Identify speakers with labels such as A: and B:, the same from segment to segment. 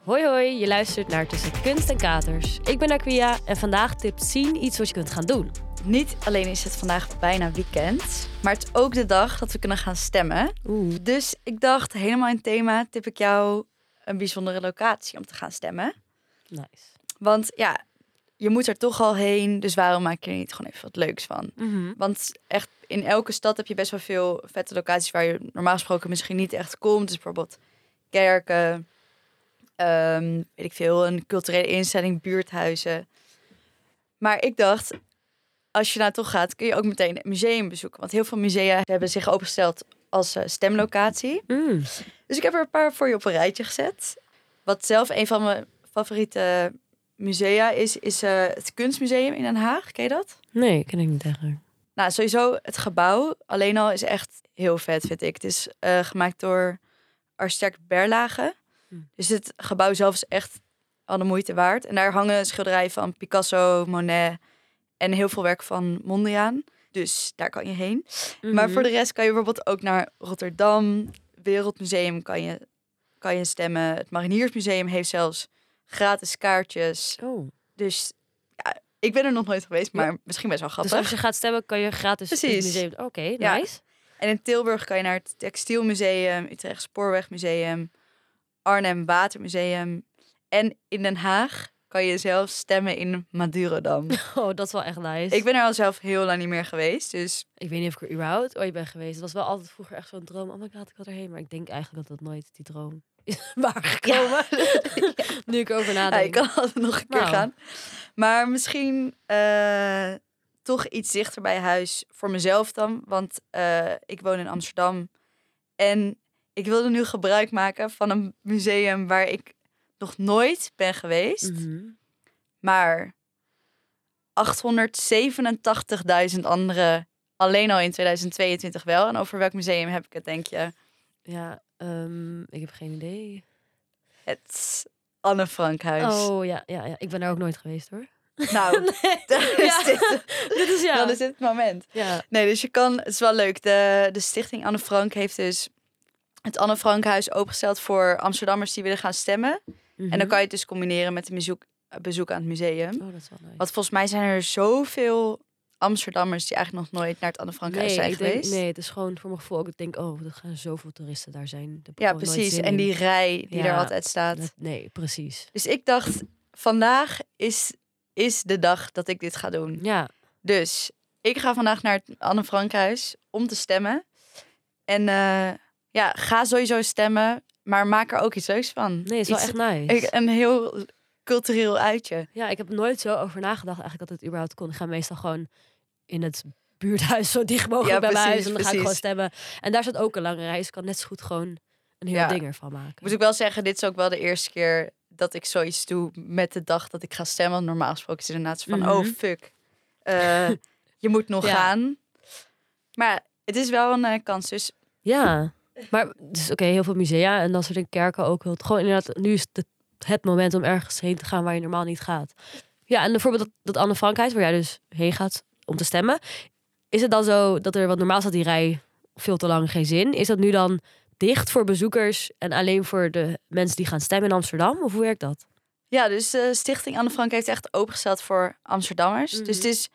A: Hoi hoi, je luistert naar Tussen Kunst en Katers. Ik ben Aquia en vandaag tipt zien iets wat je kunt gaan doen.
B: Niet alleen is het vandaag bijna weekend, maar het is ook de dag dat we kunnen gaan stemmen.
A: Oeh.
B: Dus ik dacht, helemaal in thema, tip ik jou een bijzondere locatie om te gaan stemmen.
A: Nice.
B: Want ja, je moet er toch al heen, dus waarom maak je er niet gewoon even wat leuks van? Want echt, in elke stad heb je best wel veel vette locaties waar je normaal gesproken misschien niet echt komt. Dus bijvoorbeeld kerken, ehm, weet ik veel, een culturele instelling, buurthuizen. Maar ik dacht, als je naartoe gaat, kun je ook meteen het museum bezoeken. Want heel veel musea hebben zich opengesteld als eh, stemlocatie.
A: Mm.
B: Dus ik heb er een paar voor je op een rijtje gezet. Wat zelf een van mijn favoriete musea is, is eh, het Kunstmuseum in Den Haag. Ken je dat?
A: Nee, ken ik niet eigenlijk.
B: Nou, sowieso het gebouw alleen al is echt heel vet, vind ik. Het is eh, gemaakt door architect Berlage.
A: Hmm.
B: Dus het gebouw zelf is echt al de moeite waard. En daar hangen schilderijen van Picasso, Monet en heel veel werk van Mondriaan. Dus daar kan je heen.
A: Mm.
B: Maar voor de rest kan je bijvoorbeeld ook naar Rotterdam. Wereldmuseum kan je, kan je stemmen. Het Mariniersmuseum heeft zelfs gratis kaartjes.
A: Oh.
B: Dus ja, ik ben er nog nooit geweest, maar misschien best wel
A: Dus
B: grappig.
A: als je gaat stemmen, kan je gratis in het
B: Precies.
A: museum. Oké,
B: Ja.
A: nice.
B: En in Tilburg kan je naar het Textielmuseum, Utrecht Spoorwegmuseum, Arnhem Watermuseum. En in Den Haag kan je zelf stemmen in Madurodam.
A: Oh, dat is wel echt nice.
B: ik ben er al zelf heel lang niet meer geweest, dus
A: Ik weet niet of ik er überhaupt ooit ben geweest. Het was wel altijd vroeger echt zo'n droom. Oh my god, ik wil erheen. Maar ik denk eigenlijk dat dat nooit die droom is waargekomen. nu ik erover
B: ja,
A: nadenk.
B: ik kan altijd nog een keer
A: Nou.
B: gaan. Maar misschien eh, toch iets dichter bij huis voor mezelf dan, want eh, ik woon in Amsterdam. En ik wilde nu gebruik maken van een museum waar ik nog nooit ben geweest.
A: Mhm.
B: Maar 887.000 anderen alleen al in 2022 wel. En over welk museum heb ik het, denk je?
A: Ja, ehm, ik heb geen idee.
B: Het Anne Frankhuis.
A: Oh ja, ja, ja, ik ben daar ook nooit geweest hoor.
B: Nou, dan is,
A: Ja.
B: dit,
A: Dit is ja.
B: dan is dit het moment.
A: ja.
B: Nee, dus je kan... Het is wel leuk. De, de stichting Anne Frank heeft dus het Anne Frankhuis opengesteld voor Amsterdammers die willen gaan stemmen. En
A: Mhm.
B: dan kan je het dus combineren met een bezoek, bezoek aan het museum.
A: Oh, dat is wel nice.
B: Want volgens mij zijn er zoveel Amsterdammers die eigenlijk nog nooit naar het Anne Frankhuis
A: nee,
B: zijn
A: ik denk,
B: geweest.
A: nee, het is gewoon voor mijn gevoel ook. Ik denk, oh, er gaan zoveel toeristen daar zijn. Daar heb ik
B: Ja,
A: gewoon nooit
B: precies.
A: zin
B: En die
A: in.
B: rij die er
A: Ja,
B: altijd staat.
A: Dat- Nee, precies.
B: Dus ik dacht, vandaag is, is de dag dat ik dit ga doen.
A: Ja,
B: Dus ik ga vandaag naar het Anne Frankhuis om te stemmen. En eh, ja, ga sowieso stemmen, maar maak er ook iets leuks van.
A: nee, het is wel
B: Iets-
A: echt nice.
B: Een heel cultureel uitje.
A: Ja, ik heb er nooit zo over nagedacht eigenlijk dat het überhaupt kon. Ik ga meestal gewoon in het buurthuis zo dicht mogelijk
B: Ja,
A: bij mijn huis.
B: precies,
A: En dan ga ik gewoon
B: precies.
A: stemmen. En daar zat ook een lange reis. Ik kan net zo goed gewoon een heel
B: Ja.
A: ding ervan maken.
B: Moet ik wel zeggen, dit is ook wel de eerste keer dat ik zoiets doe met de dag dat ik ga stemmen. Want normaal gesproken is het inderdaad zo van,
A: Mhm.
B: oh fuck, eh, je moet nog
A: Ja.
B: gaan. Maar het is wel een eh, kans, dus
A: Ja, maar dus oké, heel veel musea en dan soort dingen, kerken ook. wel. Gewoon inderdaad, nu is het het moment om ergens heen te gaan waar je normaal niet gaat. Ja, en bijvoorbeeld dat, dat Anne Frankhuis, waar jij dus heen gaat om te stemmen. Is het dan zo dat er, wat normaal staat die rij veel te lang geen zin. Is dat nu dan dicht voor bezoekers en alleen voor de mensen die gaan stemmen in Amsterdam? Of hoe werkt dat?
B: Ja, dus de Stichting Anne Frank heeft echt opengesteld voor Amsterdammers.
A: Mhm.
B: Dus het is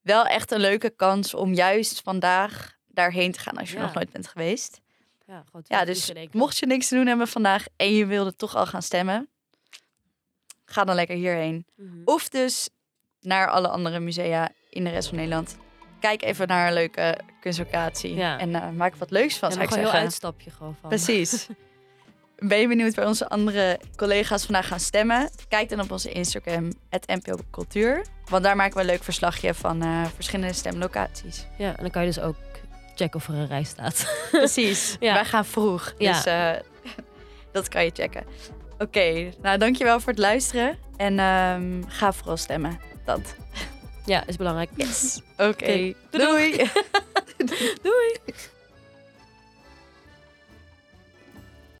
B: wel echt een leuke kans om juist vandaag daarheen te gaan als je
A: Ja.
B: nog nooit bent geweest.
A: Ja,
B: Ja, dus mocht je niks te doen hebben vandaag en je wilde toch al gaan stemmen, ga dan lekker hierheen.
A: Mhm.
B: Of dus naar alle andere musea in de rest van Nederland. Kijk even naar een leuke kunstlocatie
A: Ja.
B: en eh, maak er wat leuks van,
A: Ja,
B: zou
A: maar
B: ik
A: gewoon een
B: zeggen.
A: heel uitstapje gewoon van.
B: Precies. Ben je benieuwd waar onze andere collega's vandaag gaan stemmen? Kijk dan op onze Instagram, het NPO Cultuur. Want daar maken we een leuk verslagje van eh, verschillende stemlocaties.
A: Ja, en dan kan je dus ook checken of er een rij staat.
B: Precies.
A: Ja.
B: Wij gaan vroeg.
A: Ja.
B: Dus eh, dat kan je checken. Oké, nou dankjewel voor het luisteren. En ehm, ga vooral stemmen. Dat.
A: Ja, is belangrijk.
B: Yes. Oké.
A: Oké.
B: Doei.
A: Doei!